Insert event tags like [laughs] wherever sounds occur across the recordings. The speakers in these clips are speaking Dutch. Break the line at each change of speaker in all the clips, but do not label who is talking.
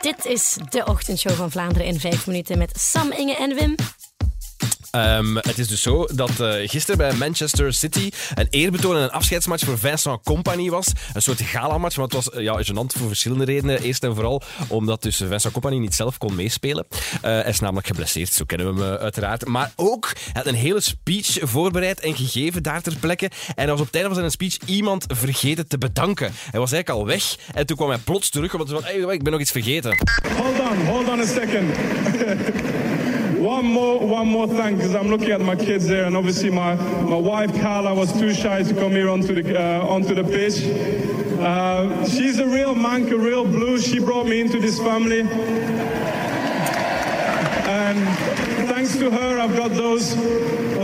Dit is de ochtendshow van Vlaanderen in 5 minuten met Sam, Inge en Wim.
Ehm, het is dus zo dat eh, gisteren bij Manchester City een eerbetoon en een afscheidsmatch voor Vincent Company was. Een soort galamatch, maar het was eh, ja, gênant voor verschillende redenen. Eerst en vooral omdat dus Vincent Company niet zelf kon meespelen. Eh, hij is namelijk geblesseerd, zo kennen we hem eh, uiteraard. Maar ook, hij had een hele speech voorbereid en gegeven daar ter plekke. En hij was op het einde van zijn speech iemand vergeten te bedanken. Hij was eigenlijk al weg en toen kwam hij plots terug omdat hij van, hey, ik ben nog iets vergeten.
Hold on, hold on a second. [laughs] one more, one more thank, because I'm looking at my kids there, and obviously my, my wife Carla was too shy to come here onto the uh, onto the pitch. Uh, she's a real monk, a real blue. She brought me into this family, and thanks to her, I've got those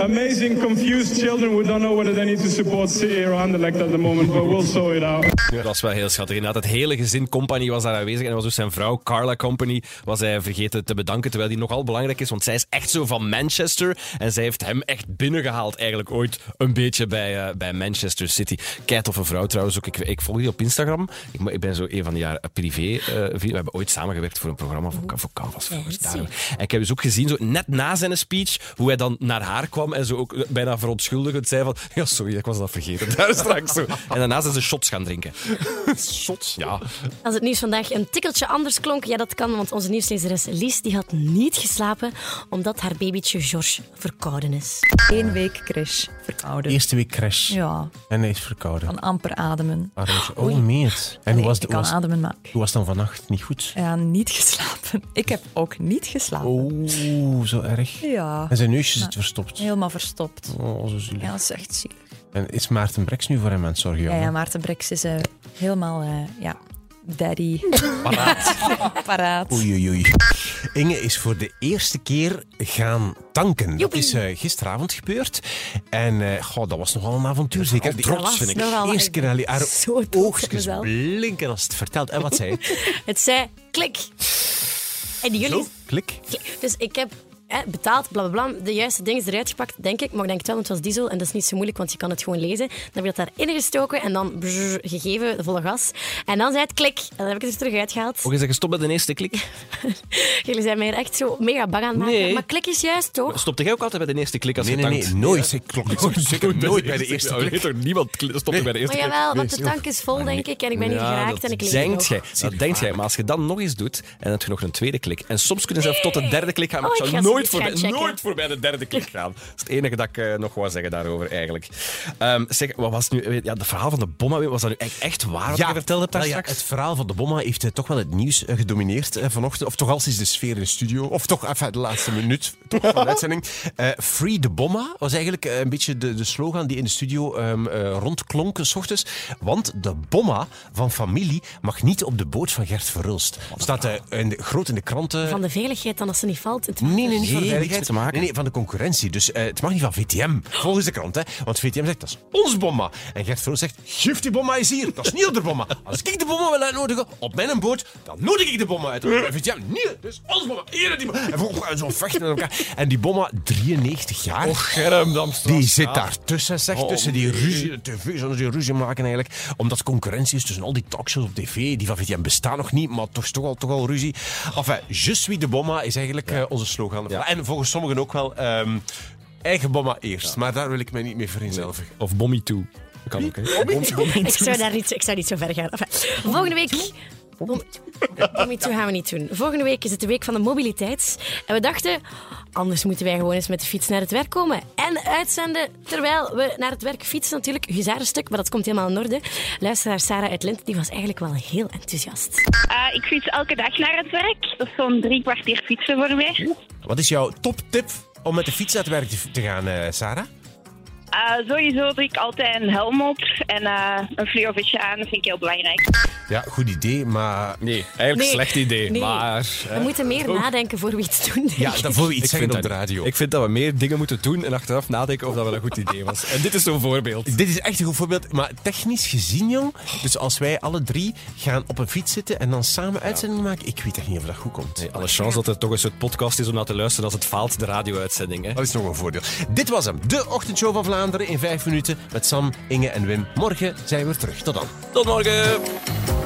amazing confused children who don't know whether they need to support City or Anderlecht at the moment, but we'll sort it out.
Dat was wel heel schattig. Inderdaad, het hele gezin Company was daar aanwezig. En was dus zijn vrouw, Carla Company, was hij vergeten te bedanken. Terwijl die nogal belangrijk is, want zij is echt zo van Manchester. En zij heeft hem echt binnengehaald eigenlijk ooit een beetje bij, eh, bij Manchester City. Kijk of een vrouw trouwens ook. Ik, ik volg die op Instagram. Ik, mo- ik ben zo een van die jaar privé. eh, vrienden. we hebben ooit samengewerkt voor een programma voor, voor Canvas. volgens
Fancy.
daar. En ik heb dus ook gezien, zo net na zijn speech, hoe hij dan naar haar kwam en zo ook bijna verontschuldigend zei van ja, sorry, ik was dat vergeten. [laughs] Daar straks zo. En daarna zijn ze shots gaan drinken. Shots? Ja.
Als het nieuws vandaag een tikkeltje anders klonk, ja dat kan, want onze nieuwslezeres Lies die had niet geslapen omdat haar babytje George verkouden is.
Eén week crash, verkouden.
Eerste week crash.
Ja,
En hij is verkouden.
kan amper ademen.
Ah, Roosje. Oh, meet. En hoe was,
ik
de,
kan
hoe, was,
ademen, maar
hoe was het dan vannacht? Niet goed?
ja, niet [laughs] geslapen. Ik heb ook niet geslapen.
Oh. Oeh, zo erg.
Ja,
En zijn neusje zit verstopt.
helemaal verstopt.
Oh, zo zielig.
Ja, dat is echt zielig.
En is Maarten Breks nu voor hem aan het zorgen?
Ja,
jongen?
ja Maarten Brex is eh, helemaal, eh, ja, daddy. Paraat. [laughs] Paraat.
Oei, oei, oei. Inge is voor de eerste keer gaan tanken. Dat is eh, gisteravond gebeurd. En eh, goh, dat was nogal een avontuur, zeker. Die
trots, vind ik. Nogal,
Eerste
ik
keer
ben
Ali, haar
zo trots op
oogjes
mezelf.
blinken als het vertelt. En wat zei het?
[laughs]
Het zei klik. En jullie...
Zo, klik.
klik. Dus ik heb hè, betaald, bla bla bla, de juiste dingen eruit gepakt, denk ik. Maar ik denk het wel, want het was diesel en dat is niet zo moeilijk, want je kan het gewoon lezen. Dan heb je dat daarin gestoken en dan brrr, gegeven, volle gas. En dan zei het klik. En dan heb ik het er terug uitgehaald.
Ook eens dat je stopt bij de eerste klik.
[laughs] Jullie zijn mij hier echt zo mega bang aan het maken.
Nee.
Maar klik is juist, toch?
Stopte jij ook altijd bij de eerste klik als
Nee,
je
nee,
tankt?
nee, nooit. Ik klok ik zeker nooit bij de eerste
klik.
klik.
toch niemand kli- stopt toch bij de eerste
Maar
klik?
Oh, jawel, want de tank is vol, denk ik. En ik ben hier
Ah, Ja,
geraakt
dat
en ik leef
denkt
nog.
jij. Dat denkt jij. Maar als je dan nog eens doet en dan heb je nog een tweede klik. En soms kunnen ze zelf tot de derde klik gaan. Maar
Oh,
ik
ik
zou
ga ze
nooit
niet
voorbij,
gaan checken.
nooit voorbij de derde
[laughs]
klik gaan. Dat is het enige dat ik eh, nog wou zeggen daarover eigenlijk. Ehm, zeg, wat was nu. Ja, de verhaal van de bomma, was dat nu echt, echt waar wat je vertelde hebt daar
wel ja,
straks?
Het verhaal van de bomma heeft eh, toch wel het nieuws eh, gedomineerd eh, vanochtend. Of toch al sinds de sfeer in de studio. Of toch enfin, de laatste minuut [laughs] toch, van de uitzending. Eh, Free de bomma was eigenlijk eh, een beetje de, de slogan die in de studio ehm, eh, rondklonk s ochtends. Want de bomma van familie mag niet op de boot van Gert Verhulst. Staat eh, in de, groot in de kranten.
Van de veiligheid dan als ze niet valt. Het
Nee, nee, niet van de
Nee,
veiligheid.
niks te maken.
Nee, nee, van de concurrentie. Dus eh, het mag niet van VTM, volgens de krant. Hè. Want VTM zegt, dat is ons bomma. En Gert Verhulst zegt, geef die bomma eens hier. Dat is niet op de bomma. Als ik de bomma wil uitnodigen op mijn boot, dan nodig ik de bomma uit. En VTM, nee, dat is ons bomma. Hier die bomma. En vroeg, en zo'n vechten met elkaar. En die bomma, 93 jaar.
Germ
Die zit daar tussen, zeg,
Oh,
tussen die
nee.
ruzie, de tv, zoals die ruzie maken eigenlijk. Omdat concurrentie is tussen al die talkshows op tv, die van VTM bestaan nog niet, maar toch, toch, al, toch al ruzie. Enfin, je suis de bomma is eigenlijk eh, onze slogan. En volgens sommigen ook wel, ehm, eigen bomma eerst. Maar daar wil ik mij niet mee vereenzelvigen.
Of Bommy 2. Dat kan ook, hè?
ik zou daar niet, ik zou niet zo ver gaan. Enfin, volgende week. Bom- Bommy toe gaan we niet doen. Volgende week is het de week van de mobiliteit. En we dachten, anders moeten wij gewoon eens met de fiets naar het werk komen. En uitzenden terwijl we naar het werk fietsen natuurlijk. Huzarenstuk, maar dat komt helemaal in orde. Luisteraar Sarah uit Lint, die was eigenlijk wel heel enthousiast.
Eh, ik fiets elke dag naar het werk. Dat is zo'n drie kwartier fietsen voor mij.
Wat is jouw toptip om met de fiets naar het werk te, te gaan, eh, Sarah?
Eh, sowieso doe ik altijd een helm op en eh, een fleurvisje aan. Dat vind ik heel belangrijk.
Ja, goed idee, maar...
Nee, eigenlijk
Nee.
slecht idee.
Nee.
Maar.
We moeten meer nadenken voor we iets doen. denk
Ja,
ik.
daarvoor iets zeggen op
dat
de radio.
ik vind dat we meer dingen moeten doen en achteraf nadenken of dat wel een goed idee was. En dit is zo'n voorbeeld.
Dit is echt een goed voorbeeld. Maar technisch gezien, jong. Dus als wij alle drie gaan op een fiets zitten en dan samen uitzending maken. Ik weet echt niet of dat goed komt.
Alle chance dat het toch een soort podcast is om naar te luisteren als het faalt, de radio-uitzending. Hè?
Oh, Dat is nog een voordeel. Dit was hem. De ochtendshow van Vlaanderen in vijf minuten. Met Sam, Inge en Wim. Morgen zijn we weer terug. Tot dan.
Tot morgen!